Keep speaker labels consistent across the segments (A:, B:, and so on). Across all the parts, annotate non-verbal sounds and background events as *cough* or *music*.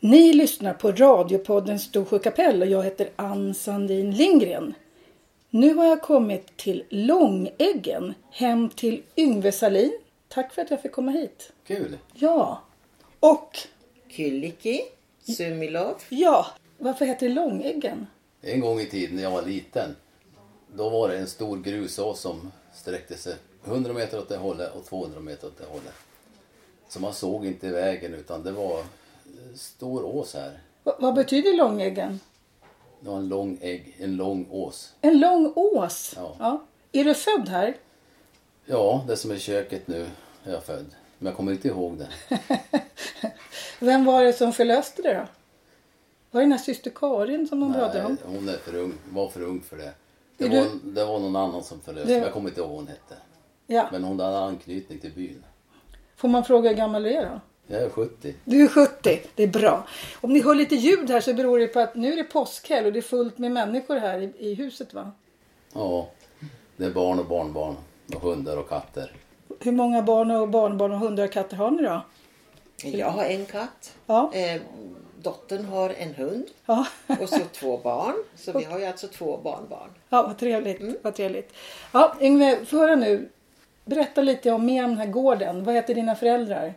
A: Ni lyssnar på radiopodden Storsjö kapell och jag heter Ann Sandin Lindgren. Nu har jag kommit till Långäggen, hem till Yngve Salin. Tack för att jag fick komma hit.
B: Kul!
A: Ja, och
C: Kyllikki, Sumilov.
A: ja, varför heter det Långäggen?
B: En gång i tiden när jag var liten, då var det en stor grusås som sträckte sig 100 meter åt det hållet och 200 meter åt det hållet. Så man såg inte vägen utan det var eh, stor ås här.
A: Va- vad betyder Långäggen?
B: Det var en lång ägg, en lång ås.
A: En lång ås?
B: Ja.
A: Är du född här?
B: Ja, det som är köket nu är jag född. Men jag kommer inte ihåg
A: *laughs*
B: det.
A: Vem var det som förlöste dig då? Var det den här syster Karin som de pratade om?
B: Nej, hon är för ung, var för ung för det. Det
A: Är
B: var,
A: du-
B: det var någon annan som förlöste,
A: Det-
B: men jag kommer inte ihåg vad hon hette.
A: Ja.
B: Men hon hade anknytning till byn.
A: Får man fråga hur gammal du är då?
B: Jag är 70.
A: Du är 70, det är bra. Om ni hör lite ljud här så beror det på att nu är det påskhelg och det är fullt med människor här i, i huset va?
B: Ja, det är barn och barnbarn och hundar och katter.
A: Hur många barn och barnbarn och hundar och katter har ni då?
C: Jag har en katt.
A: Mm. Ja.
C: Eh, dottern har en hund.
A: Ja, *laughs*
C: Och så två barn. Så vi har ju alltså två
A: *laughs*
C: barnbarn.
A: ja vad trevligt.
B: Mm.
A: Vad trevligt. Ja, Yngve, få höra nu. Berätta lite om mer om den här gården. Vad heter dina föräldrar?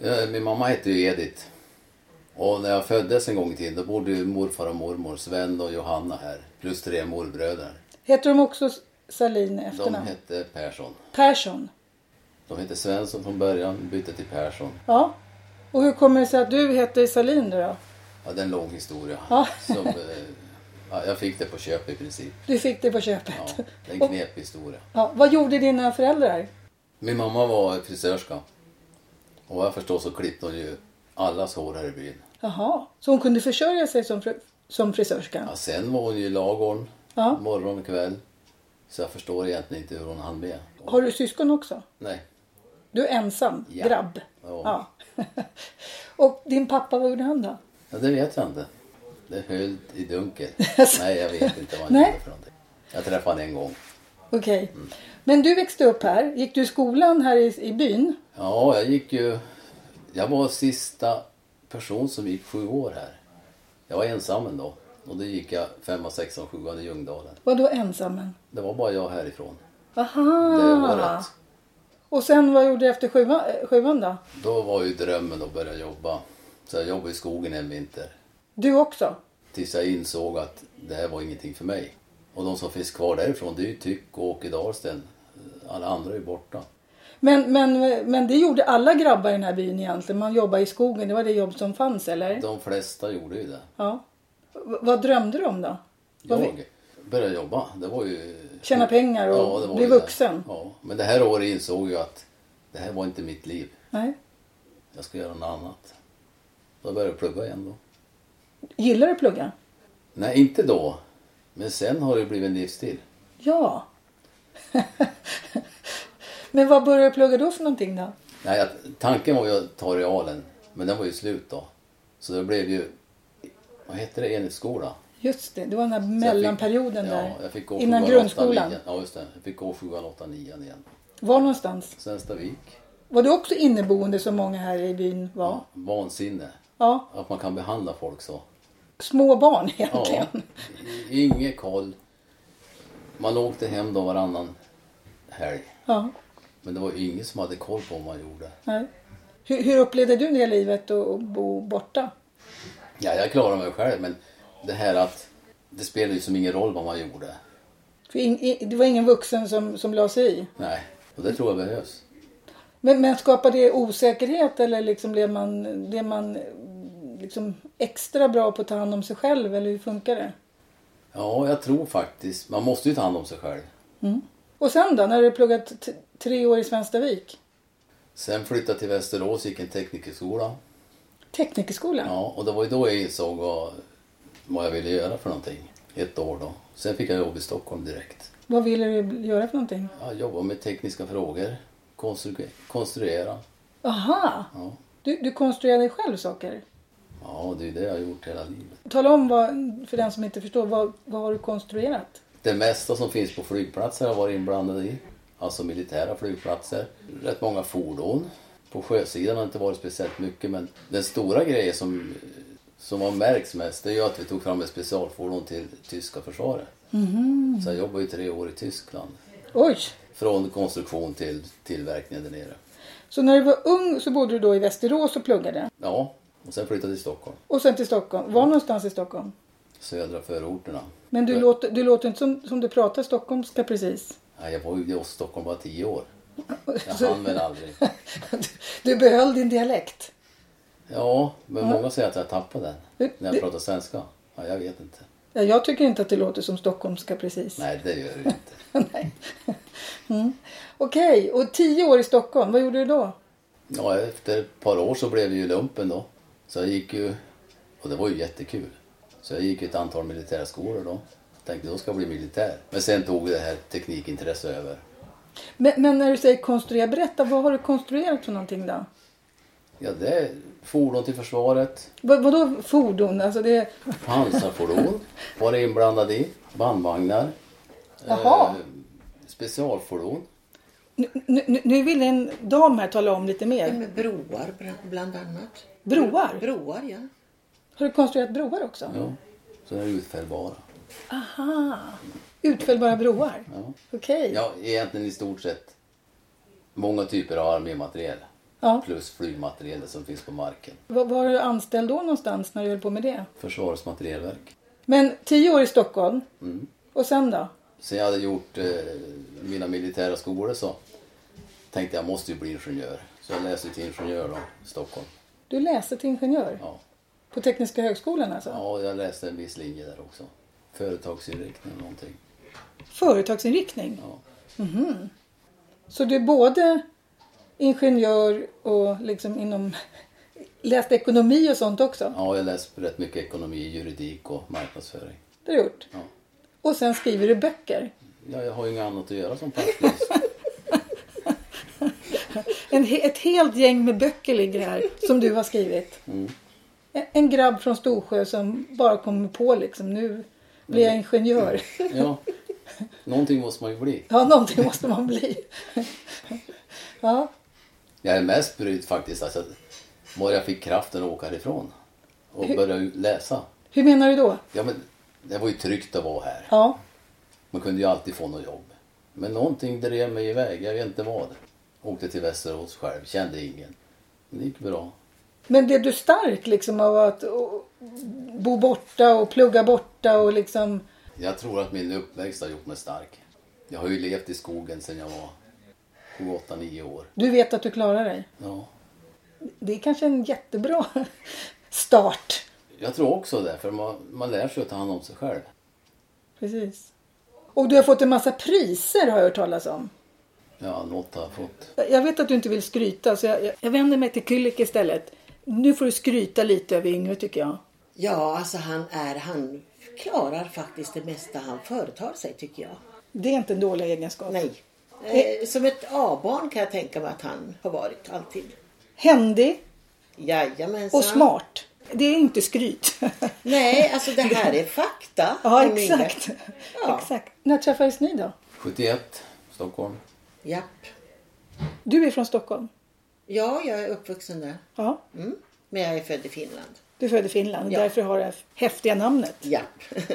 B: Eh, Min mamma hette ju Edith. Och när jag föddes en gång i tiden då bodde ju morfar och mormor Sven och Johanna här. Plus tre morbröder.
A: Heter de också Salin i
B: De
A: efternamn?
B: hette Persson.
A: Persson?
B: De hette Svensson från början, bytte till Persson.
A: Ja. Och hur kommer det sig att du heter Salin då? då?
B: Ja, det är en lång historia.
A: Ja.
B: Som, eh, ja, jag fick det på köp i princip.
A: Du fick det på köpet.
B: Ja,
A: Ja,
B: det är en knepig historia.
A: ja. Vad gjorde dina föräldrar?
B: Min mamma var frisörska. Och vad jag förstår så klippte hon ju allas hår här i byn.
A: Jaha, så hon kunde försörja sig som, fri- som frisörska?
B: Ja, sen var hon ju i lagården
A: Ja.
B: morgon och kväll. Så jag förstår egentligen inte hur hon hann med. Och,
A: Har du syskon också?
B: nej,
A: Du är ensam
B: Ja.
A: grabb?
B: Ja.
A: Ja. *laughs* Och din pappa, vad gjorde han då?
B: ja, det vet jag inte. Det höll i
A: *laughs*
B: dunkel. nej, jag vet inte vad han
A: Nej.
B: gjorde för någonting. Jag träffade honom en gång.
A: Okej. Men du växte upp här. Gick du i skolan här i, i byn?
B: Ja, jag gick ju... Jag var sista person som gick sju år här. Jag var ensam ändå. Och då gick jag femma, sexan, sjuan i Ljungdalen.
A: Var då ensammen?
B: Det var bara jag härifrån.
A: Aha!
B: Det året.
A: Och sen vad gjorde du efter sjuan, eh, sjuan då?
B: Då var ju drömmen att börja jobba. Så jag jobbade i skogen en vinter.
A: Du också?
B: Tills jag insåg att det här var ingenting för mig. Och de som finns kvar därifrån det är ju Tyck och Åke Dahlsten. Alla andra är ju borta.
A: Men, men, men det gjorde alla grabbar i den här byn egentligen. Man jobbade i skogen. Det var det jobb som fanns, eller?
B: De flesta gjorde ju det.
A: Ja. V- vad drömde du om då? Vad
B: Jag började jobba. Det var ju...
A: Tjäna pengar och
B: det var
A: bli
B: ju det.
A: vuxen.
B: Ja. Men det här året insåg jag att det här var inte mitt liv.
A: Nej.
B: Jag ska göra något annat. Då började jag plugga igen då.
A: Gillar du att plugga?
B: Nej, inte då. Men sen har det blivit en livsstil.
A: Ja. *laughs* Men vad började du plugga då för någonting då?
B: Nej, att, tanken var ju att ta realen, men den var ju slut då. Så det blev ju, vad heter det, enhetsskola.
A: Just det, det var den här
B: Så jag fick-
A: mellanperioden där.
B: Ja, jag fick gå
A: innan
B: sjuan, åttan,
A: grundskolan.
B: nian. Ja, just det. Jag fick gå sjuan, åttan, nian igen.
A: Var någonstans?
B: Svenstavik.
A: Var du också inneboende som många här i byn var?
B: Ja. Vansinne.
A: Ja.
B: Att man kan behandla folk så.
A: Små barn *laughs*
B: Ja.
A: egentligen.
B: Ingen koll. Man åkte hem då varannan helg.
A: Ja.
B: Men det var ju ingen som hade koll på vad man gjorde.
A: Nej. Hur, hur upplevde du det livet att att bo borta?
B: Ja, jag klarade mig själv, men det här att det spelar ju som ingen roll vad man gjorde.
A: För in, i, det var ingen vuxen som, som la sig i.
B: Nej, och det tror jag behövs.
A: Men, men skapade det osäkerhet eller liksom blev man, blev man eh, liksom extra bra på att ta hand om sig själv? Eller hur funkar det?
B: Ja, jag tror faktiskt. Man måste ju ta hand om sig själv.
A: Och sen då, när du pluggat t- tre år i Svenstavik?
B: Sen flyttade till Västerås, gick en teknikerskola.
A: Teknikerskolan?
B: Ja, och det var ju då jag insåg vad, vad jag ville göra för någonting. Ett år då. Sen fick jag jobb i Stockholm direkt.
A: Vad ville du göra för någonting?
B: Jag jobbade med tekniska frågor, konstru- konstruera.
A: Aha!
B: Ja.
A: Du, du konstruerar dig själv saker?
B: ja, det är ju det jag har gjort hela livet.
A: Tala om vad, för den som inte förstår, vad, vad har du konstruerat?
B: Det mesta som finns på flygplatser har jag varit inblandad i. Alltså militära flygplatser. Rätt många fordon. På sjösidan har det inte varit speciellt mycket men den stora grejen som, som har märks mest det är ju att vi tog fram ett specialfordon till tyska försvaret. Så jag jobbade ju tre år i Tyskland.
A: Oj!
B: Från konstruktion till tillverkning där nere.
A: Så när du var ung så bodde du då i Västerås och pluggade.
B: Ja, och sen flyttade till Stockholm.
A: Och sen till Stockholm. Var någonstans i Stockholm?
B: Södra förorterna.
A: Men du,
B: Ja.
A: låter, du låter inte som, som du pratar stockholmska precis. *laughs*
B: Nej, jag var ju i Stockholm bara tio år. Jag
A: Så-
B: hann väl aldrig.
A: du behöll din dialekt.
B: Ja, men många säger att jag tappade den. När jag pratar svenska. Ja, jag vet inte.
A: Ja, Jag tycker inte att det låter som stockholmska precis.
B: Nej, det gör det ju inte.
A: Nej. mm. Okej, och tio år i Stockholm, vad gjorde du då?
B: Ja, efter ett par år så blev det ju lumpen då. Så jag gick ju, och det var ju jättekul. Så jag gick ju ett antal militärskolor då. Tänkte då ska jag bli militär. Men sen tog det här teknikintresset över.
A: Men, men när du säger konstruera, berätta vad har du konstruerat för någonting då?
B: Ja, det är fordon till försvaret,
A: Vad, vadå fordon? Alltså det,
B: pansarfordon var det inblandad i, bandvagnar, Eh,
A: Jaha.
B: specialfordon.
A: nu, nu, nu vill en dam här tala om lite
C: Ja,
A: mer.
C: Med broar bra- bland annat.
A: Mm. Broar?
C: Broar ja.
A: Har du konstruerat broar också?
B: Ja, så är det utfällbara.
A: Aha! Utfällbara broar?
B: Ja.
A: Okej.
B: Ja, egentligen i stort sett många typer av armémateriel.
A: Ja.
B: Plus flygmateriel som finns på marken.
A: Var, var du anställd då någonstans när du höll på med det?
B: Försvarets materielverk.
A: Men tio år i Stockholm.
B: Mm.
A: Och sen då?
B: Sen jag hade gjort eh, mina militära skolor så tänkte jag måste ju bli ingenjör. Så jag läste till ingenjör då, i Stockholm.
A: Du läste till ingenjör?
B: Ja.
A: På Tekniska högskolan alltså?
B: ja, jag läste en viss linje där också. Företagsinriktning eller någonting.
A: Företagsinriktning?
B: Ja.
A: Så du är både ingenjör och liksom inom... Läste ekonomi och sånt också?
B: ja, jag läste rätt mycket ekonomi, juridik och marknadsföring.
A: Det har du gjort.
B: Ja.
A: Och sen skriver du böcker.
B: Ja, jag har ju inget annat att göra som pensionist.
A: En, he- ett helt gäng med böcker ligger här som du har skrivit.
B: Mm.
A: En, en grabb från Storsjö som bara kommer på liksom nu blir jag
B: Mm.
A: ingenjör. *laughs*
B: Ja, någonting måste man ju bli.
A: Ja, någonting måste man bli. *laughs* Ja,
B: Jag är mest brydd faktiskt alltså, var jag fick kraften att åka härifrån och börja läsa.
A: hur menar du då?
B: Ja, men det var ju tryggt att vara här.
A: Ja,
B: Man kunde ju alltid få något jobb. Men någonting drev mig iväg, jag vet inte vad. Åkte till Västerås själv, kände ingen. Men det gick bra.
A: men blev du stark liksom av att och, bo borta och plugga borta och liksom...
B: Jag tror att min uppväxt har gjort mig stark. Jag har ju levt i skogen sedan jag var 7, 8, 9 år.
A: Du vet att du klarar dig.
B: Ja.
A: Det är kanske en jättebra *laughs* start.
B: Jag tror också det, för man, man lär sig att ta hand om sig själv.
A: Precis. Och du har fått en massa priser har jag hört talas om.
B: Ja, något har jag fått.
A: Jag vet att du inte vill skryta så jag, jag, jag vänder mig till Kylik istället. Nu får du skryta lite över Yngve tycker jag.
C: Ja, alltså han är, han klarar faktiskt det mesta han företar sig tycker jag.
A: Det är inte en dålig egenskap.
C: Nej. Eh, som ett A-barn kan jag tänka mig att han har varit alltid.
A: Händig
C: Jajamensan.
A: och smart. Det är inte
C: *laughs*
A: skryt.
C: Nej, alltså
A: *laughs*
C: det här är fakta.
A: ja, *laughs*
C: om livet.
A: exakt.
C: Ja.
A: exakt. När träffades ni då?
B: 71, Stockholm.
C: Japp.
A: Du är från Stockholm?
C: Ja, jag är uppvuxen där.
A: Ja.
C: Mm. Men jag är född i Finland.
A: Du är född i Finland och
C: Ja.
A: därför har det här häftiga namnet.
C: Japp.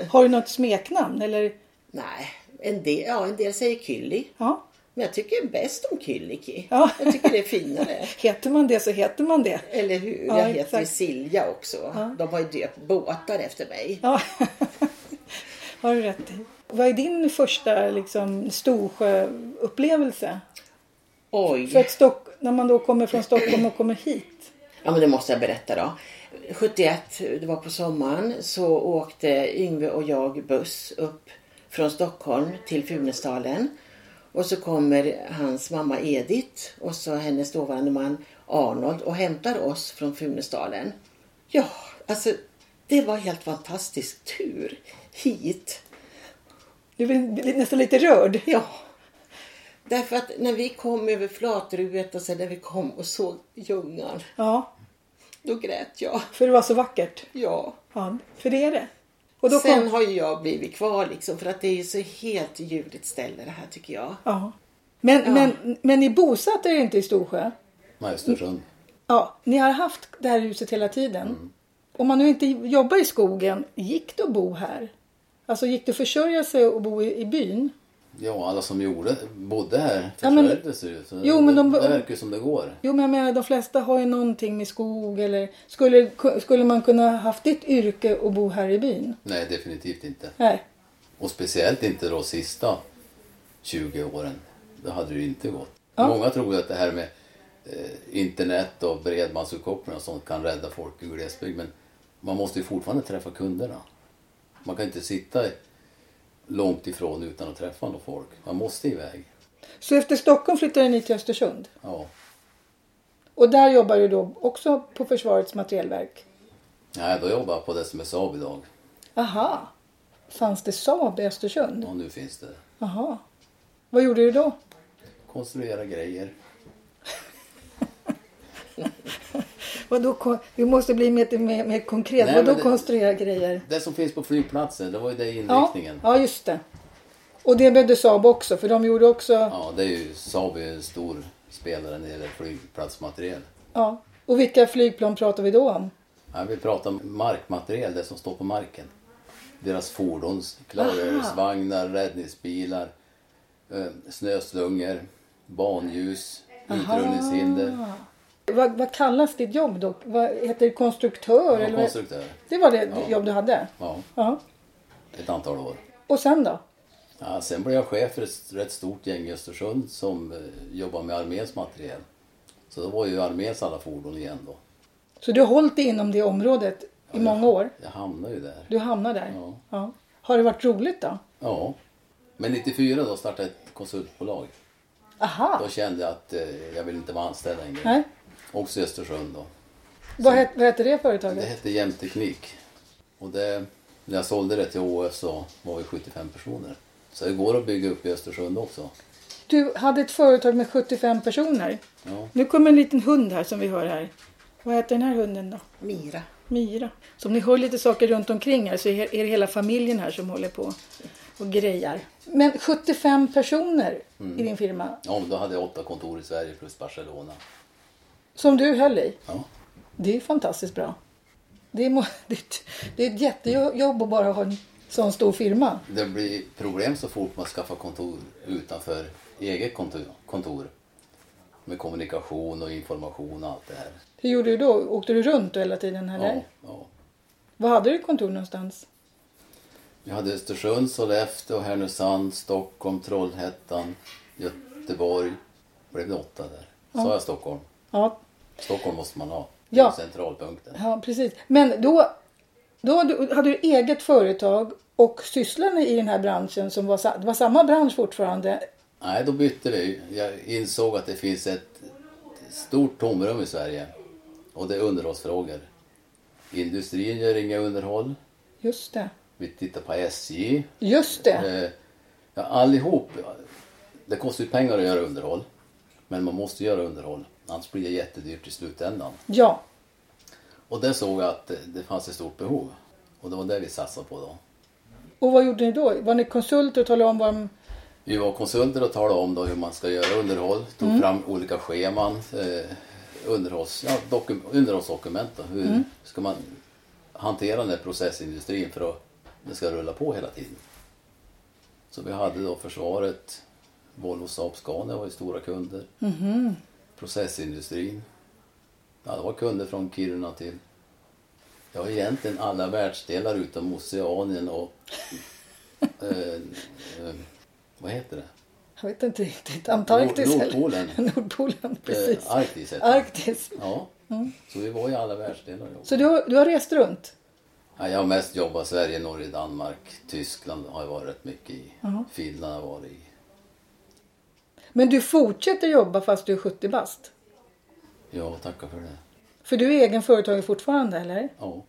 A: Har du något smeknamn eller?
C: *laughs* Nej, en del, ja, en del säger Kylli.
A: Ja.
C: Men jag tycker bäst om Kylliki.
A: Ja.
C: Jag tycker det är finare.
A: Heter man det så heter man det.
C: Eller hur?
A: Ja,
C: jag heter ju
A: exakt.
C: Silja också. De har ju döpt båtar efter mig.
A: Ja. *laughs* har du rätt i. Vad är din första liksom, Storsjöupplevelse? För
C: Oj!
A: att Stock, när man då kommer från Stockholm och kommer hit.
C: Ja, men det måste jag berätta då. 71, det var på sommaren, så åkte Yngve och jag buss upp från Stockholm till Funäsdalen. Och så kommer hans mamma Edith och så hennes dåvarande man Arnold och hämtar oss från Funäsdalen. Ja, alltså det var helt fantastisk tur hit.
A: Du blir- blir nästan lite rörd.
C: Ja. Därför att när vi kom över Flatruet och sen när vi kom och såg Ljungan,
A: Ja,
C: då grät jag.
A: för det var så vackert.
C: Ja.
A: Ja, för det är det. Och då
C: Sen
A: kom,
C: har ju jag blivit kvar liksom för att det är ju så helt ljuvligt ställe det här tycker jag.
A: ja. Men, men, men ni bosatte er inte i Storsjö?
B: Nej, Östersund.
A: Ja, ni har haft det här huset hela tiden. Om man nu inte jobbar i skogen, gick det att bo här? Alltså gick det att försörja sig och bo i, i byn?
B: Ja, alla som gjorde, bodde här
A: Ja, men-
B: försörjde sig ju. Så
A: Jo, men de-
B: det, det verkar ju som det går.
A: Jo, men jag menar de flesta har ju någonting med skog eller skulle, skulle man kunna haft ditt yrke och bo här i byn?
B: Nej, definitivt inte.
A: Nej.
B: Och speciellt inte de sista 20 åren. Det hade det ju inte gått. Många tror ju att det här med eh, internet och bredbandsuppkoppling och sånt kan rädda folk i glesbygd. Men man måste ju fortfarande träffa kunderna. Man kan inte sitta långt ifrån utan att träffa någon folk. Man måste iväg.
A: Så efter Stockholm flyttade ni till Östersund?
B: Ja.
A: Och där jobbar du då också på Försvarets materielverk?
B: Nej, då jobbar jag på det som är Saab idag.
A: Aha. Fanns det Saab i Östersund?
B: Och nu finns det.
A: Aha. Vad gjorde du då?
B: Konstruera grejer.
A: Vadå, kon- vi måste bli mer, mer, mer konkret.
B: Nej,
A: Vadå
B: men det-
A: konstruera grejer?
B: Det som finns på flygplatsen, det var ju
A: Ja,
B: det inriktningen.
A: ja, just det. Och det behövde Saab också för de gjorde också... Ja.
B: Ja, det är ju Saab är ju en stor spelare när det gäller flygplatsmateriel.
A: Och vilka flygplan pratar vi då om?
B: Ja, vi pratar om markmateriel, det som står på marken. Deras fordons, klargöringsvagnar, räddningsbilar, eh, snöslungor, banljus, utrullningshinder.
A: Vad, vad kallas ditt jobb då? Vad heter det konstruktör?
B: Ja,
A: eller vad-
B: konstruktör.
A: Det var det jobb du hade?
B: Ja,
A: Ja.
B: ett antal år.
A: Och sen då?
B: Ja, sen blev jag chef för ett rätt stort gäng i Östersund som eh, jobbar med arméns materiel. Så då var ju arméns alla fordon igen då.
A: Så du har hållit dig inom det området i många år?
B: Jag hamnade ju där.
A: Du hamnar där?
B: Ja.
A: Har det varit roligt då?
B: Ja. Men 94 då startade jag ett konsultbolag.
A: Aha!
B: Då kände jag att eh, jag ville inte vara anställd längre.
A: Nej.
B: Också i Östersund då.
A: Vad, het, vad heter det
B: Det
A: företaget?
B: hette Jämteknik. Och det, när jag sålde det till OS så var vi 75 personer. Så det går att bygga upp i Östersund också.
A: Du hade ett företag med 75 personer.
B: Ja.
A: Nu kommer en liten hund här som vi hör här. Vad heter den här hunden då?
C: Mira.
A: Mira. Så om ni hör lite saker runt omkring här så är är det hela familjen här som håller på och grejar. Men 75 personer i din firma
B: ja, men då hade jag åtta kontor i Sverige plus Barcelona.
A: som du höll i.
B: Ja.
A: Det är fantastiskt bra. Det är, må- *laughs* det är ett- det är ett jättejobb att bara ha en sån stor firma.
B: Det blir problem så fort man skaffar kontor utanför eget kontor, kontor. Med kommunikation och information och allt det här.
A: Hur gjorde du då? Åkte du runt hela tiden? Eller?
B: Ja, ja.
A: Var hade du kontor någonstans?
B: Jag hade Östersund, Sollefteå, Härnösand, Stockholm, Trollhättan, Göteborg. Blev det åtta där? Sa jag Stockholm?
A: Ja,
B: Stockholm måste man ha.
A: Ja.
B: Det är Centralpunkten.
A: ja precis. Men då, då hade du- hade du eget företag och sysslade i den här branschen som var, sa- det var samma bransch fortfarande.
B: Nej, då bytte vi. Jag insåg att det finns ett stort tomrum i Sverige. Och det är underhållsfrågor. Industrin gör inga underhåll.
A: Just det.
B: Vi tittar på SJ.
A: Just det.
B: Eh, Ja, allihop. Det kostar ju pengar att göra underhåll. Men man måste göra underhåll. Annars blir det jättedyrt i slutändan.
A: Ja.
B: Och där såg jag att det- det fanns ett stort behov. Och det var det vi satsade på då.
A: Och vad gjorde ni då? Var ni konsulter och talade om vad de...
B: Vi var konsulter och talade om då hur man ska göra underhåll. Tog fram olika scheman. Eh, underhålls, ja, dokum, underhållsdokument. Då. Hur ska man hantera den här processindustrin för att den ska rulla på hela tiden. Så vi hade då försvaret, Volvo Saab Scania var ju stora kunder. Processindustrin. Ja, det var kunder från Kiruna till ja, egentligen alla världsdelar utom Oceanien och eh, eh, vad heter det?
A: Jag vet inte riktigt. Antarktis?
B: Nord-
A: eller-
B: Nordpolen.
A: *laughs* Nordpolen, precis.
B: Eh, Arktis heter det.
A: Arktis.
B: Ja, så vi var i alla världsdelar. och jobbade.
A: Mm. Så du har, du har rest runt?
B: Ja, jag har mest jobbat Sverige, Norge, Danmark, Tyskland har jag varit rätt mycket i.
A: Mm.
B: Finland har jag varit i.
A: Men du fortsätter jobba fast du är 70 bast?
B: Ja, tacka för det.
A: För du är egen företagare fortfarande eller?
B: Ja.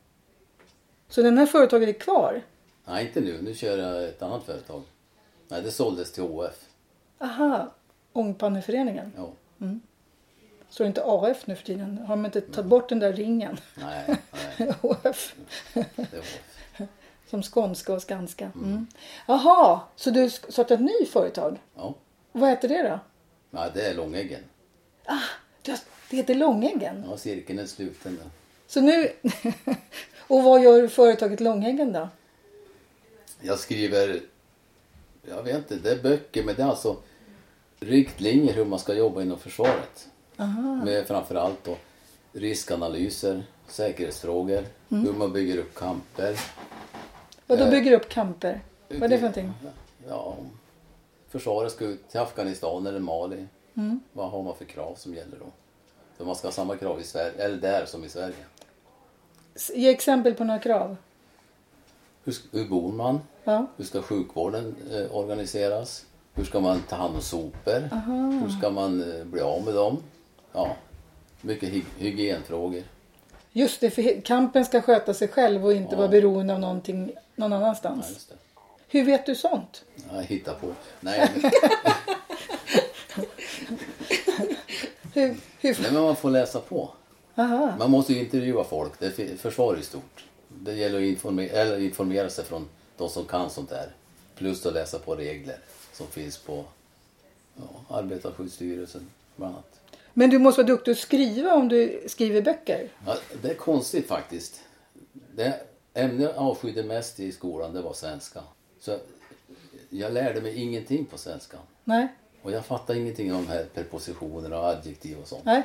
A: Så den här företaget är kvar?
B: Nej, inte nu. Nu kör jag ett annat företag. Nej, det såldes till HF.
A: Aha, Ångpanneföreningen.
B: Ja.
A: Så det är inte AF nu för tiden? Har de inte tagit bort den där ringen? *laughs*
B: Nej, nej,
A: AF.
B: det var HF.
A: Som skånska och skanska. Mm. Jaha, så du sk- startat ett nytt företag?
B: Ja.
A: Vad heter det då?
B: Nej, det är Långäggen.
A: Du har, Det heter Långäggen.
B: Ja, cirkeln är sluten. där.
A: Så nu... *laughs* och vad gör företaget Långäggen då?
B: Jag skriver, jag vet inte, det är böcker men det är alltså riktlinjer hur man ska jobba inom försvaret. Med framförallt då riskanalyser, säkerhetsfrågor,
A: Mm.
B: hur man bygger upp kamper.
A: Vad då bygger upp kamper? Vad är Eh, det för någonting?
B: Ja, om försvaret ska ut till Afghanistan eller Mali.
A: Mm.
B: Vad har man för krav som gäller då? För man ska ha samma krav i Sverige, eller där som i Sverige.
A: S- Ge exempel på några krav.
B: Hur, sk- hur bor man?
A: Ja.
B: Hur ska sjukvården eh, organiseras? Hur ska man ta hand om sopor? Hur ska man eh, bli av med dem? Ja, mycket hy- hygienfrågor.
A: Just det, för he- kampen ska sköta sig själv och inte vara beroende av någonting någon annanstans.
B: Just det.
A: Hur vet du sånt?
B: Ja, hitta på. Nej men,
A: Hur, *laughs* hur...
B: nej, men man får läsa på.
A: Aha.
B: Man måste ju intervjua folk. Det fi- försvar är ju stort. Det gäller att informera, eller informera sig från de som kan sånt där. Plus att läsa på regler som finns på ja, Arbetarskyddsstyrelsen bland annat.
A: Men du måste vara duktig att skriva om du skriver böcker.
B: Ja, det är konstigt faktiskt. Det ämne jag avskydde mest i skolan det var svenska. Så jag lärde mig ingenting på svenska.
A: Nej.
B: Och jag fattade ingenting om de här prepositionerna och adjektiv och sånt.
A: Nej.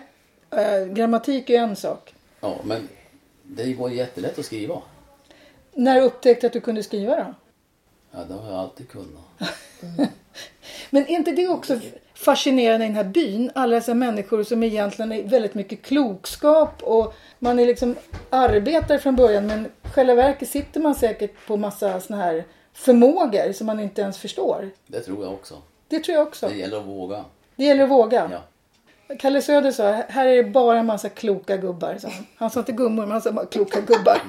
A: Eh, grammatik är ju en sak.
B: Ja, men det går jättelätt att skriva.
A: När upptäckte du att du kunde skriva då?
B: Ja, det har jag alltid kunnat.
A: Men är inte det också fascinerande i den här byn? Alla dessa människor som egentligen är väldigt mycket klokskap och man är liksom arbetare från början men i själva verket sitter man säkert på massa såna här förmågor som man inte ens förstår.
B: Det tror jag också.
A: Det tror jag också.
B: Det gäller att våga.
A: Det gäller att våga.
B: Ja.
A: Kalle Söder sa, här är det bara en massa kloka gubbar. sa han. Han sa inte gummor, men han sa bara kloka gubbar.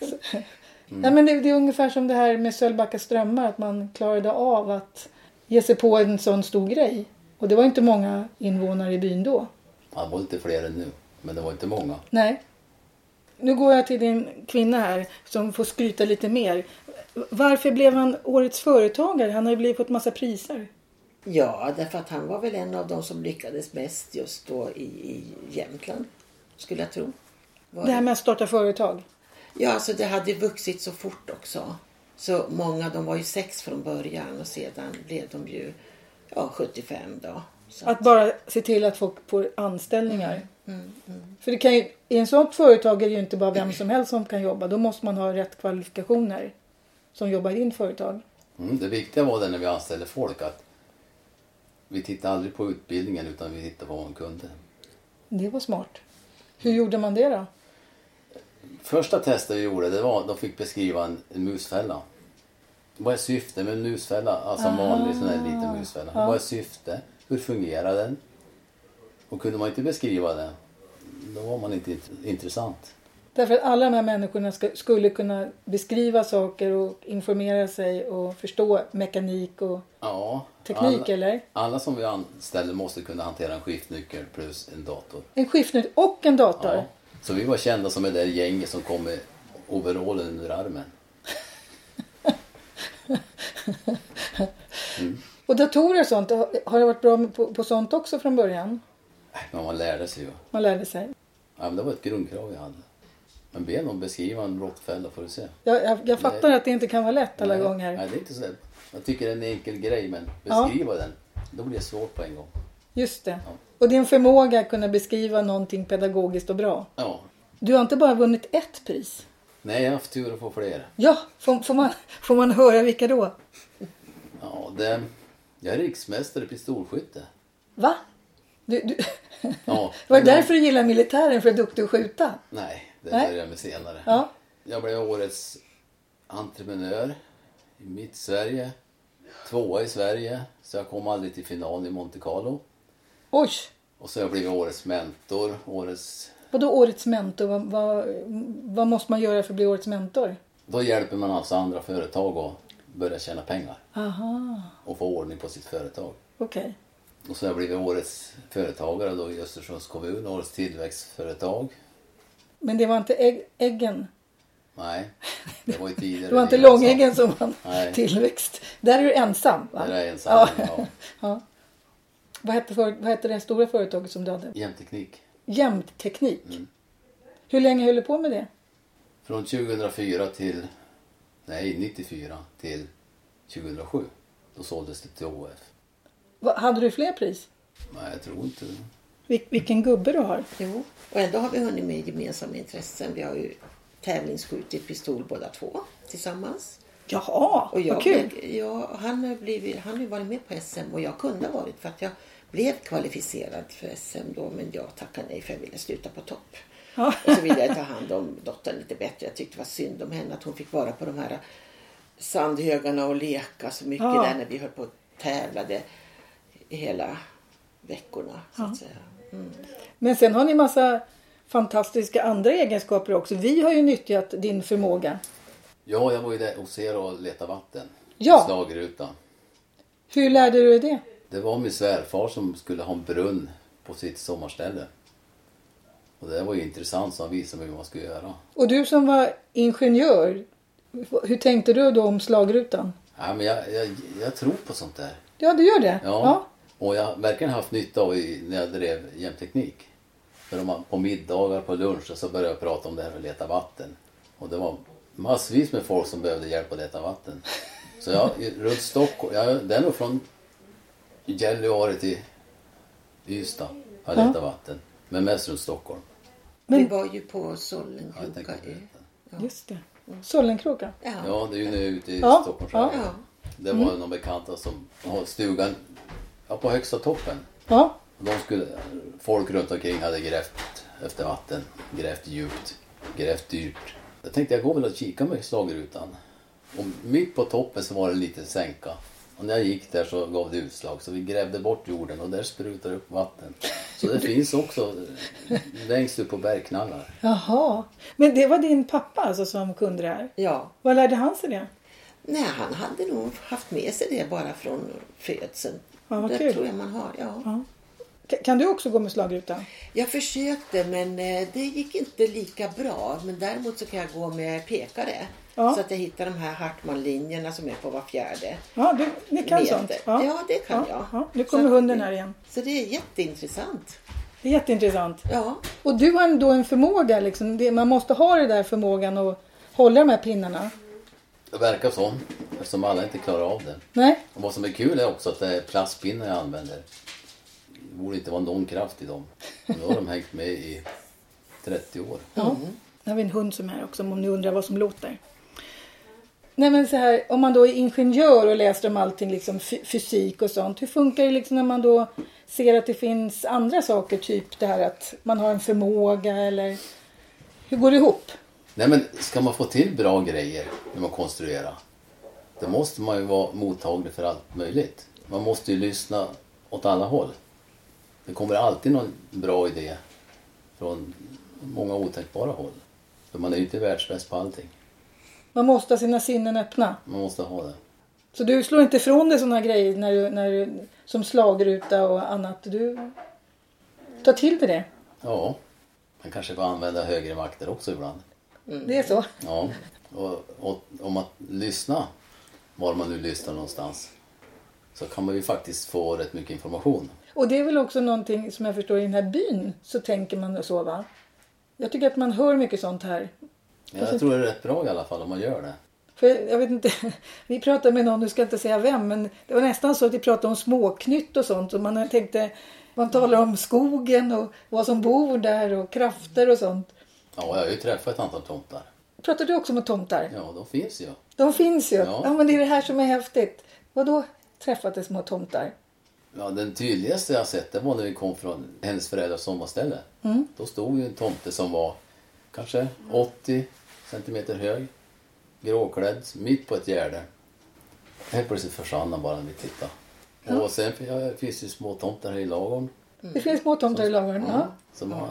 A: Så- *laughs* Nej, men det, det är ungefär som det här med Sölvbacka strömmar, att man klarade av att ge sig på en sån stor grej. Och det var inte många invånare i byn då.
B: Han var lite fler än nu, men det var inte många.
A: Nej. Nu går jag till din kvinna här som får skryta lite mer. Varför blev han årets företagare? Han har ju blivit fått massa priser.
C: Ja, därför att han var väl en av de som lyckades mest just då i, i Jämtland, skulle jag tro. Var
A: Det här med att starta företag.
C: Ja, alltså det hade vuxit så fort också. Så många, de var ju sex från början och sedan blev de ju ja, 75 då. Så,
A: Att bara se till att folk får anställningar. För det kan ju, i en sånt företag är det ju inte bara vem som helst som kan jobba. Då måste man ha rätt kvalifikationer som jobbar i din företag.
B: Mm, det viktiga var det när vi anställde folk att vi tittade aldrig på utbildningen utan vi tittade på vad man kunde.
A: Det var smart. Hur gjorde man det då?
B: Första testet vi gjorde, det var de fick beskriva en, en musfälla. Vad är syftet med en musfälla? Alltså en vanlig sån här liten musfälla. Vad är syftet? Hur fungerar den? Och kunde man inte beskriva det, då var man inte int- intressant.
A: Därför att alla de här människorna ska, skulle kunna beskriva saker och informera sig och förstå mekanik och
B: Ja,
A: teknik
B: alla,
A: eller?
B: alla som vi anställer måste kunna hantera en skiftnyckel plus en dator.
A: En skiftnyckel och en dator.
B: Ja. Så vi var kända som det där gänget som kom med overallen under armen.
A: *laughs* Och datorer och sånt, har det varit bra med- på, på sånt också från början?
B: Äh, Men man lärde sig ju.
A: Man lärde sig.
B: Ja, men det var ett grundkrav vi hade. Men be någon beskriva en råttfälla får du se.
A: Jag, jag, jag fattar att det inte kan vara lätt alla gånger.
B: Nej, det är inte så lätt. Jag tycker det är en enkel grej, men beskriva den. Då blir det svårt på en gång.
A: Just det. Och din förmåga att kunna beskriva någonting pedagogiskt och bra.
B: Ja.
A: Du har inte bara vunnit ett pris.
B: Nej, jag har haft tur att få fler.
A: Ja, får, får, man, får man höra vilka då?
B: Ja, det... Jag är riksmästare i pistolskytte.
A: Va? Du, du...
B: Ja.
A: Var *laughs* det därför du gillar militären? För att du är duktig att skjuta?
B: Nej, det
A: Nej.
B: börjar jag med senare.
A: Ja.
B: Jag blev årets entreprenör i mitt Sverige. Tvåa i Sverige, så jag kom aldrig till final i Monte Carlo.
A: Oj!
B: Och så har jag blivit årets mentor, årets...
A: Vadå årets mentor? Vad, vad, vad måste man göra för att bli årets mentor?
B: Då hjälper man alltså andra företag att börja tjäna pengar
A: Aha,
B: och få ordning på sitt företag.
A: okej.
B: Och så har jag blivit årets företagare då i Östersunds kommun, årets tillväxtföretag.
A: Men det var inte ägg, äggen?
B: Nej,
A: *laughs*
B: det var ju tidigare.
A: Det var inte
B: vi ensam.
A: långäggen som vann
B: Nej.
A: tillväxt. Där är du ensam va?
B: Där är jag ensam,
A: Ja.
B: ja.
A: ja. Vad hette, för- vad hette det stora företaget som du hade?
B: Jämteknik.
A: Jämtteknik.
C: Mm.
A: Hur länge höll du på med det?
B: Från 2004 till, nej 94 till 2007. Då såldes det till HF.
A: Vad- Hade du fler pris?
B: Nej, jag tror inte det.
A: Vil- vilken gubbe du har.
C: Jo, och ändå har vi hunnit med gemensamma intressen. Vi har ju tävlingsskjutit pistol båda två tillsammans.
A: Jaha,
C: Och jag,
A: vad kul.
C: blev- jag, han, har blivit, han har ju varit med på SM och jag kunde ha varit för att jag blev kvalificerad för SM då men jag tackade nej för jag ville sluta på topp.
A: Ja.
C: Och så ville jag ta hand om dottern lite bättre. Jag tyckte det var synd om henne att hon fick vara på de här sandhögarna och leka så mycket
A: Ja.
C: där när vi höll på och tävlade hela veckorna. Så att säga.
A: Men sen har ni massa fantastiska andra egenskaper också. Vi har ju nyttjat din förmåga.
B: Ja, jag var ju där hos er och letade vatten.
A: Ja.
B: Slagrutan.
A: Hur lärde du dig det?
B: Det var min svärfar som skulle ha en brunn på sitt sommarställe. Och det var ju intressant så han visade mig hur man skulle göra.
A: Och du som var ingenjör, hur tänkte du då om slagrutan?
B: Ja, men jag, jag, jag tror på sånt där.
A: Ja, du gör det?
B: Ja. Och jag har verkligen haft nytta av i, när jag drev jämteknik. För om man, på middagar, på lunch så började jag prata om det här med att leta vatten. Och det var massvis med folk som behövde hjälp att leta vatten. Så jag, i- runt Stockholm, jag, det är nog från Gällivare till Ystad har jag letat vatten. Men mest runt Stockholm.
C: Vi var ju på
B: Ja, jag
C: Sollenkroka
B: tänker på
C: ö.
B: det.
A: Just det. Sollenkroka.
C: Ja.
B: Ja, det är ju nu ute i
A: Ja,
B: Stockholm.
A: ja.
B: Ja. Det var någon bekanta som har stugan ja, på högsta toppen.
A: Ja.
B: Och De skulle, folk runt omkring hade grävt efter vatten, grävt djupt, grävt dyrt. Jag tänkte jag går väl och kikar med slagrutan. Och mitt på toppen så var det en liten sänka. Och när jag gick där så gav det utslag så vi grävde bort jorden och där sprutar det upp vatten. Så det finns också eh, längst upp på bergknallar.
A: Jaha. Men det var din pappa alltså som kunde det här?
C: ja.
A: Vad lärde han sig det?
C: Nej, han hade nog haft med sig det bara från födseln.
A: Ja, vad
C: det
A: kul.
C: tror jag man har. Ja.
A: Ja. Ka- Kan du också gå med slagrutan?
C: Jag försökte men eh, det gick inte lika bra. Men däremot så kan jag gå med pekare.
A: Ja.
C: Så att jag hittar de här Hartman-linjerna som är på var fjärde
A: Ja, du, ni kan
C: meter.
A: sånt?
C: Ja. det kan
A: ja.
C: jag.
A: Ja. Nu
C: Så
A: kommer
C: att-
A: hunden här igen.
C: Så det är jätteintressant.
A: Det är jätteintressant.
C: Ja,
A: Och du har då en förmåga, liksom. det, man måste ha den där förmågan att hålla de här pinnarna.
B: Det verkar så, eftersom alla inte klarar av det.
A: Nej,
B: Och vad som är kul är också att det är plastpinnar jag använder. Det borde inte vara någon kraft i dem. Nu har de hängt med i 30 år.
A: Ja.
C: Mm.
A: Nu har vi en hund som är här också om ni undrar vad som låter. Nej men så här, om man då är ingenjör och läser om allting liksom fy- fysik och sånt. Hur funkar det liksom när man då ser att det finns andra saker, typ det här att man har en förmåga eller hur går det ihop?
B: Nej men ska man få till bra grejer när man konstruerar. Då måste man ju vara mottaglig för allt möjligt. Man måste ju lyssna åt alla håll. Det kommer alltid någon bra idé från många otänkbara håll. För man är ju inte världsbäst på allting.
A: Man måste ha sina sinnen öppna.
B: Man måste ha det.
A: Så du slår inte ifrån dig sådana grejer när du, när du, som slagruta och annat. Du tar till dig det.
B: Ja, man kanske får använda högre makter också ibland.
A: Det är så.
B: Ja, och, och om att lyssna, var man nu lyssnar någonstans, så kan man ju faktiskt få rätt mycket information.
A: Och det är väl också någonting som jag förstår i den här byn så tänker man så va? Jag tycker att man hör mycket sånt här.
B: Jag tror det är rätt bra i alla fall om man gör det.
A: För jag vet inte, *laughs* vi pratade med någon, nu ska jag inte säga vem, men det var nästan så att vi pratade om småknytt och sånt och man tänkte, man talar om skogen och vad som bor där och krafter och sånt.
B: Ja, jag har ju träffat ett antal tomtar.
A: Pratar du också med tomtar?
B: Ja, de finns ju.
A: De finns ju. Ja.
B: Ja.
A: men det är det här som är häftigt. Vadå träffat de små tomtar?
B: Ja, den tydligaste jag sett det var när vi kom från hennes föräldrars sommarställe.
A: Mm.
B: Då stod ju en tomte som var kanske 80 centimeter hög, gråklädd, mitt på ett gärde. Helt plötsligt försvann han bara när vi tittade. Och sen fin- ja, finns det ju små tomtar här i lagom.
A: Det finns små tomtar i ladugården. Ja.
B: Som har,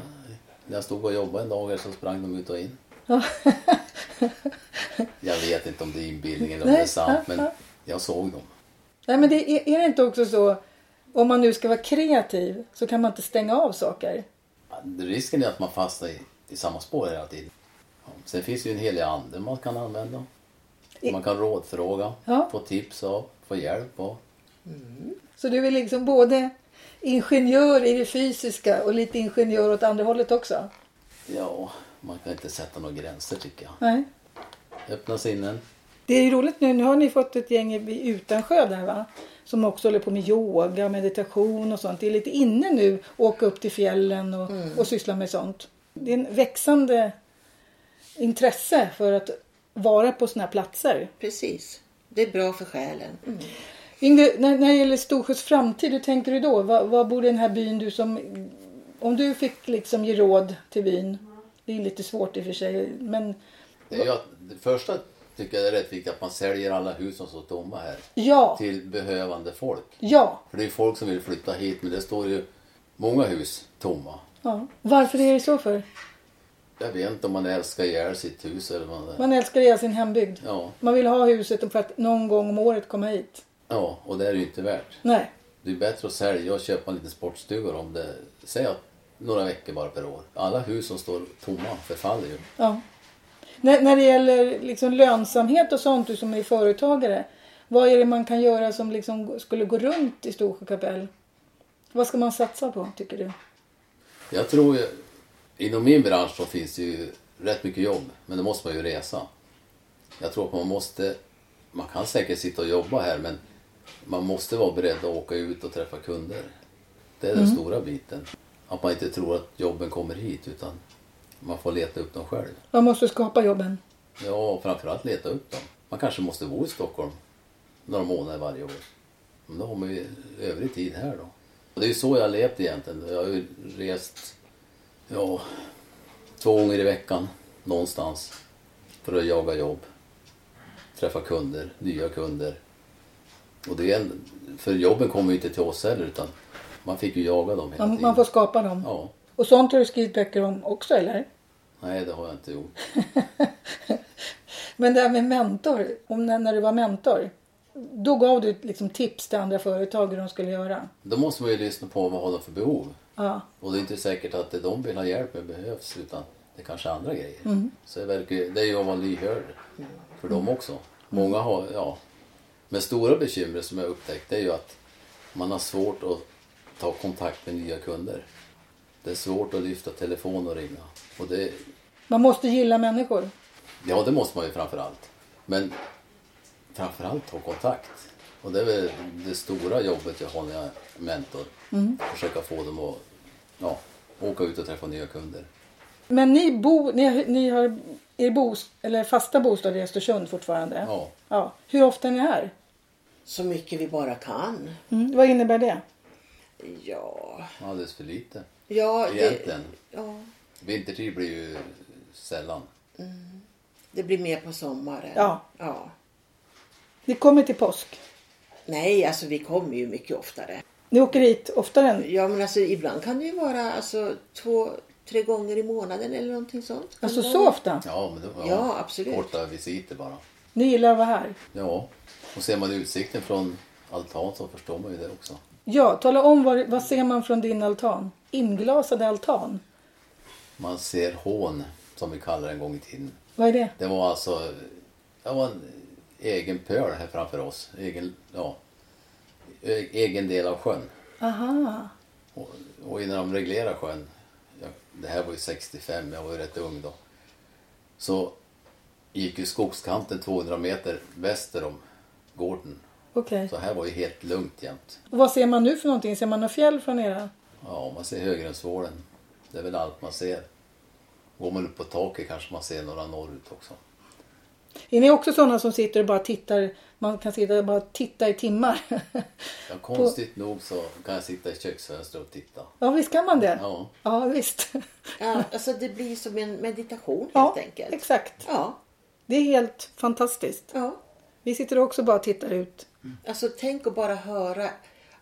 B: när jag stod och jobbade en dag här så sprang de ut och in.
A: Ja. *laughs*
B: Jag vet inte om det är inbillning eller om
A: Nej,
B: det är sant
A: ja,
B: men
A: ja.
B: jag såg dem.
A: Nej, men det är, är det inte också så, om man nu ska vara kreativ så kan man inte stänga av saker.
B: Ja, Risken är att man fastnar i, i samma spår hela tiden. Ja, Sen finns det ju en helig ande man kan använda. Man kan rådfråga,
A: Ja.
B: få tips av, få hjälp av.
A: Så du är liksom både ingenjör i det fysiska och lite ingenjör åt andra hållet också.
B: Ja, man kan inte sätta några gränser tycker jag.
A: Nej.
B: Öppna sinnen.
A: Det är ju roligt nu. Nu har ni fått ett gäng i Utansjö där va? Som också håller på med yoga, meditation och sånt. Det är lite inne nu att åka upp till fjällen och, och syssla med sånt. Det är en växande intresse för att vara på såna här platser.
C: Precis. Det är bra för själen. Mm.
A: Yngve, när, när det gäller Storsjös framtid, hur tänker du då? Vad, vad borde den här byn du som... Om du fick liksom ge råd till byn. Det är lite svårt i och för sig, men
B: Det, är ju att, det första tycker jag är rätt viktigt att man säljer alla hus som står tomma här.
A: ja,
B: Till behövande folk.
A: ja.
B: För det är ju folk som vill flytta hit men det står ju många hus tomma.
A: ja. Varför är det så för?
B: Jag vet inte om man älskar ihjäl sitt hus eller vad det är.
A: Man älskar ihjäl sin hembygd.
B: Ja,
A: Man vill ha huset för att någon gång om året komma hit.
B: ja, och det är det ju inte värt.
A: Nej.
B: Det är bättre att sälja och köpa en liten sportstuga om det, säg att några veckor bara per år. Alla hus som står tomma förfaller ju.
A: Ja. När, när det gäller liksom lönsamhet och sånt, du som är företagare. Vad är det man kan göra som liksom skulle gå runt i Storsjö kapell? Vad ska man satsa på tycker du?
B: Jag tror ju, inom min bransch så finns det ju rätt mycket jobb, men då måste man ju resa. Jag tror att man måste, man kan säkert sitta och jobba här men man måste vara beredd att åka ut och träffa kunder. Det är den stora biten. Att man inte tror att jobben kommer hit utan man får leta upp dem själv.
A: Man måste skapa jobben.
B: Ja, och framförallt leta upp dem. Man kanske måste bo i Stockholm några månader varje år. Men då har man ju övrig tid här då. Och det är ju så jag har levt egentligen. Jag har ju rest ja, två gånger i veckan någonstans för att jaga jobb. Träffa kunder, nya kunder. Och det är en, för jobben kommer ju inte till oss heller utan man fick ju jaga dem hela
A: Man,
B: tiden.
A: man får skapa dem.
B: Ja,
A: Och sånt har du skrivit böcker om också eller?
B: nej det har jag inte gjort.
A: Men det här med mentor, om när, när du var mentor. Då gav du liksom tips till andra företag hur de skulle göra.
B: Då måste man ju lyssna på vad har de för behov.
A: Ja.
B: Och det är inte säkert att det de vill ha hjälp med behövs utan det är kanske andra grejer. Så det, verkar, ju- det är ju att vara lyhörd för dem också. Många har, ja. Men stora bekymret som jag har upptäckt det är ju att man har svårt att ta kontakt med nya kunder. Det är svårt att lyfta telefon och ringa. Och det,
A: Man måste gilla människor.
B: ja, det måste man ju framförallt. Men framförallt ta kontakt. Och det är väl det stora jobbet jag har när jag är mentor.
C: Mm.
B: Försöka få dem att ja, åka ut och träffa nya kunder.
A: Men ni, bo, ni, har- ni har er bos, eller fasta bostad i Östersund fortfarande?
B: Ja.
A: ja. Hur ofta är ni här?
C: Så mycket vi bara kan.
A: Mm. Vad innebär det?
C: Ja,
B: Alldeles för lite
C: ja, det,
B: egentligen.
C: ja
B: Vintertid blir ju sällan.
C: det blir mer på sommaren.
A: Ja.
C: ja.
A: Ni kommer till påsk.
C: Nej, alltså vi kommer ju mycket oftare.
A: Ni åker hit oftare än...
C: Ja, men alltså ibland kan det ju vara alltså, två, tre gånger i månaden eller någonting sånt. Kan
A: Alltså
C: det
A: så
C: vara?
A: ofta?
B: Ja, men det var
C: Ja, absolut.
B: korta visiter bara.
A: Ni gillar att vara här?
B: Ja, och ser man utsikten från altan så förstår man ju det också.
A: Ja, tala om vad, vad ser man från din altan? Inglasad altan?
B: Man ser hån, som vi kallar det en gång i tiden.
A: Vad är det?
B: Det var alltså det var en egen pöl här framför oss. Egen, ja, e- egen del av sjön.
A: Aha.
B: Och, och innan de reglerade sjön, jag, det här var ju 65, jag var ju rätt ung då, så gick ju skogskanten 200 meter väster om gården.
A: Okej.
B: Så här var ju helt lugnt jämt.
A: Och Vad ser man nu för någonting? Ser man några fjäll från era?
B: Ja, man ser Högrensvålen. Det är väl allt man ser. Går man upp på taket kanske man ser några norrut också.
A: Är ni också sådana som sitter och bara tittar? Man kan sitta och bara titta i timmar. *laughs*
B: Ja, konstigt nog så kan jag sitta i köksfönstret och titta.
A: ja, visst kan man det?
B: Ja.
A: Ja, visst.
C: Ja, alltså det blir som en meditation helt
A: Ja,
C: enkelt.
A: exakt.
C: Ja,
A: Det är helt fantastiskt.
C: ja.
A: Vi sitter också bara och tittar ut.
C: Alltså tänk att bara höra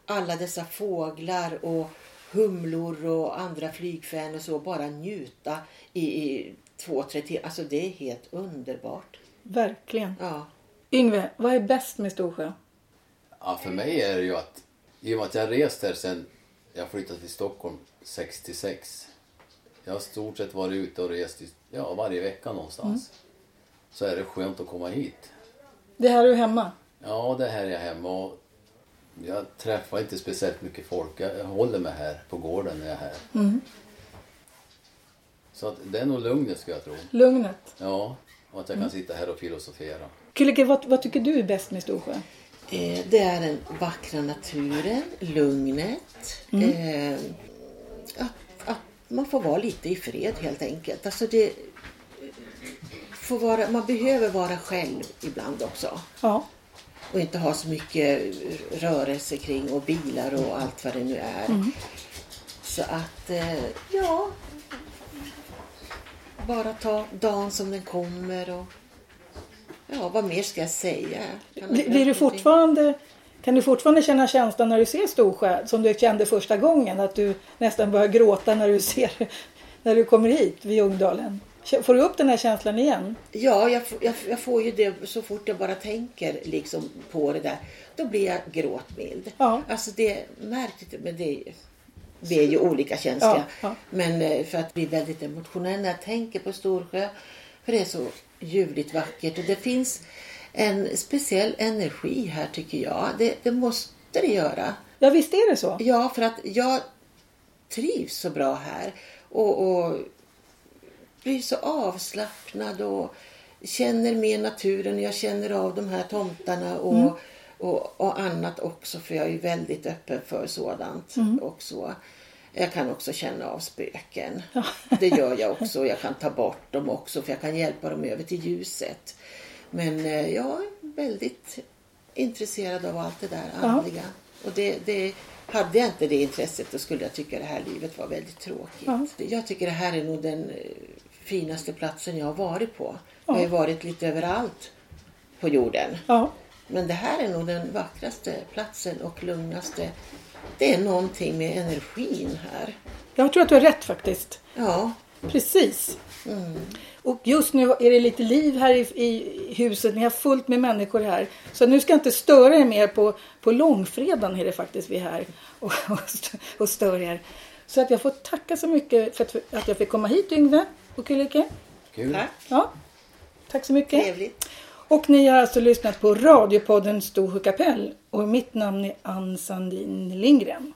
C: alla dessa fåglar och humlor och andra flygfän och så. Bara njuta i, i två, tre timmar. Alltså det är helt underbart.
A: Verkligen.
C: Ja,
A: Yngve, vad är bäst med Storsjö?
B: Ja, för mig är det ju att i och med att jag har rest här sen jag flyttade till Stockholm 66. Jag har stort sett varit ute och rest i, ja, varje vecka någonstans. Så är det skönt att komma hit.
A: Det här är ju hemma.
B: Ja, det här är jag hemma och jag träffar inte speciellt mycket folk. Jag, jag håller mig här på gården när jag är här. Så att det är nog lugnet skulle jag tro.
A: Lugnet.
B: Ja, och att jag kan sitta här och filosofera.
A: Kullike, vad, vad tycker du är bäst med Storsjö?
C: Eh, Det är den vackra naturen, lugnet.
A: Mm.
C: Eh, att, att man får vara lite i fred helt enkelt. Alltså det, får vara, man behöver vara själv ibland också.
A: Ja.
C: Och inte ha så mycket rörelse kring och bilar och allt vad det nu är.
A: Mm.
C: Så att, eh, ja. Bara ta dagen som den kommer och ja, vad mer ska jag säga? Kan
A: Blir, blir du fortfarande, kan du fortfarande känna känslan när du ser Storsjö som du kände första gången? Att du nästan börjar gråta när du *laughs* ser när du kommer hit vid Ljungdalen? K- Får du upp den här känslan igen?
C: Ja, jag, f- jag, f- jag får ju det så fort jag bara tänker liksom på det där. Då blir jag gråtmild.
A: Ja.
C: Alltså det är märkligt, men det är, vi är ju olika känsliga.
A: Ja, ja.
C: Men eh, för att bli väldigt emotionell när jag tänker på Storsjö. För det är så ljuvligt vackert och det finns en speciell energi här tycker jag. Det, det måste det göra.
A: Ja, visst är det så?
C: Ja, för att jag trivs så bra här och, och blir så avslappnad och känner mer naturen. Jag känner av de här tomtarna och, och, och annat också för jag är ju väldigt öppen för sådant. Och så. Jag kan också känna av spöken. Det gör jag också. Jag kan ta bort dem också för jag kan hjälpa dem över till ljuset. Men eh, jag är väldigt intresserad av allt det där andliga. Och det, det, hade jag inte det intresset då skulle jag tycka det här livet var väldigt tråkigt.
A: Ja.
C: Jag tycker det här är nog den eh, finaste platsen jag har varit på. Jag har ju varit lite överallt på jorden.
A: Ja.
C: Men det här är nog den vackraste platsen och lugnaste. Det är någonting med energin här.
A: Jag tror att du har rätt faktiskt.
C: Ja,
A: Precis. Och just nu är det lite liv här i, i huset. Ni har fullt med människor här. Så nu ska jag inte störa er mer på, på långfredagen är det faktiskt vi är här *laughs* och, och, st- och stör er. Så att jag får tacka så mycket för att, att jag fick komma hit Yngve och Kulike.
B: Kul.
C: tack.
A: Ja, tack så mycket.
C: Trevligt.
A: Och ni har alltså lyssnat på radiopodden Storsjö kapell och mitt namn är Ann Sandin Lindgren.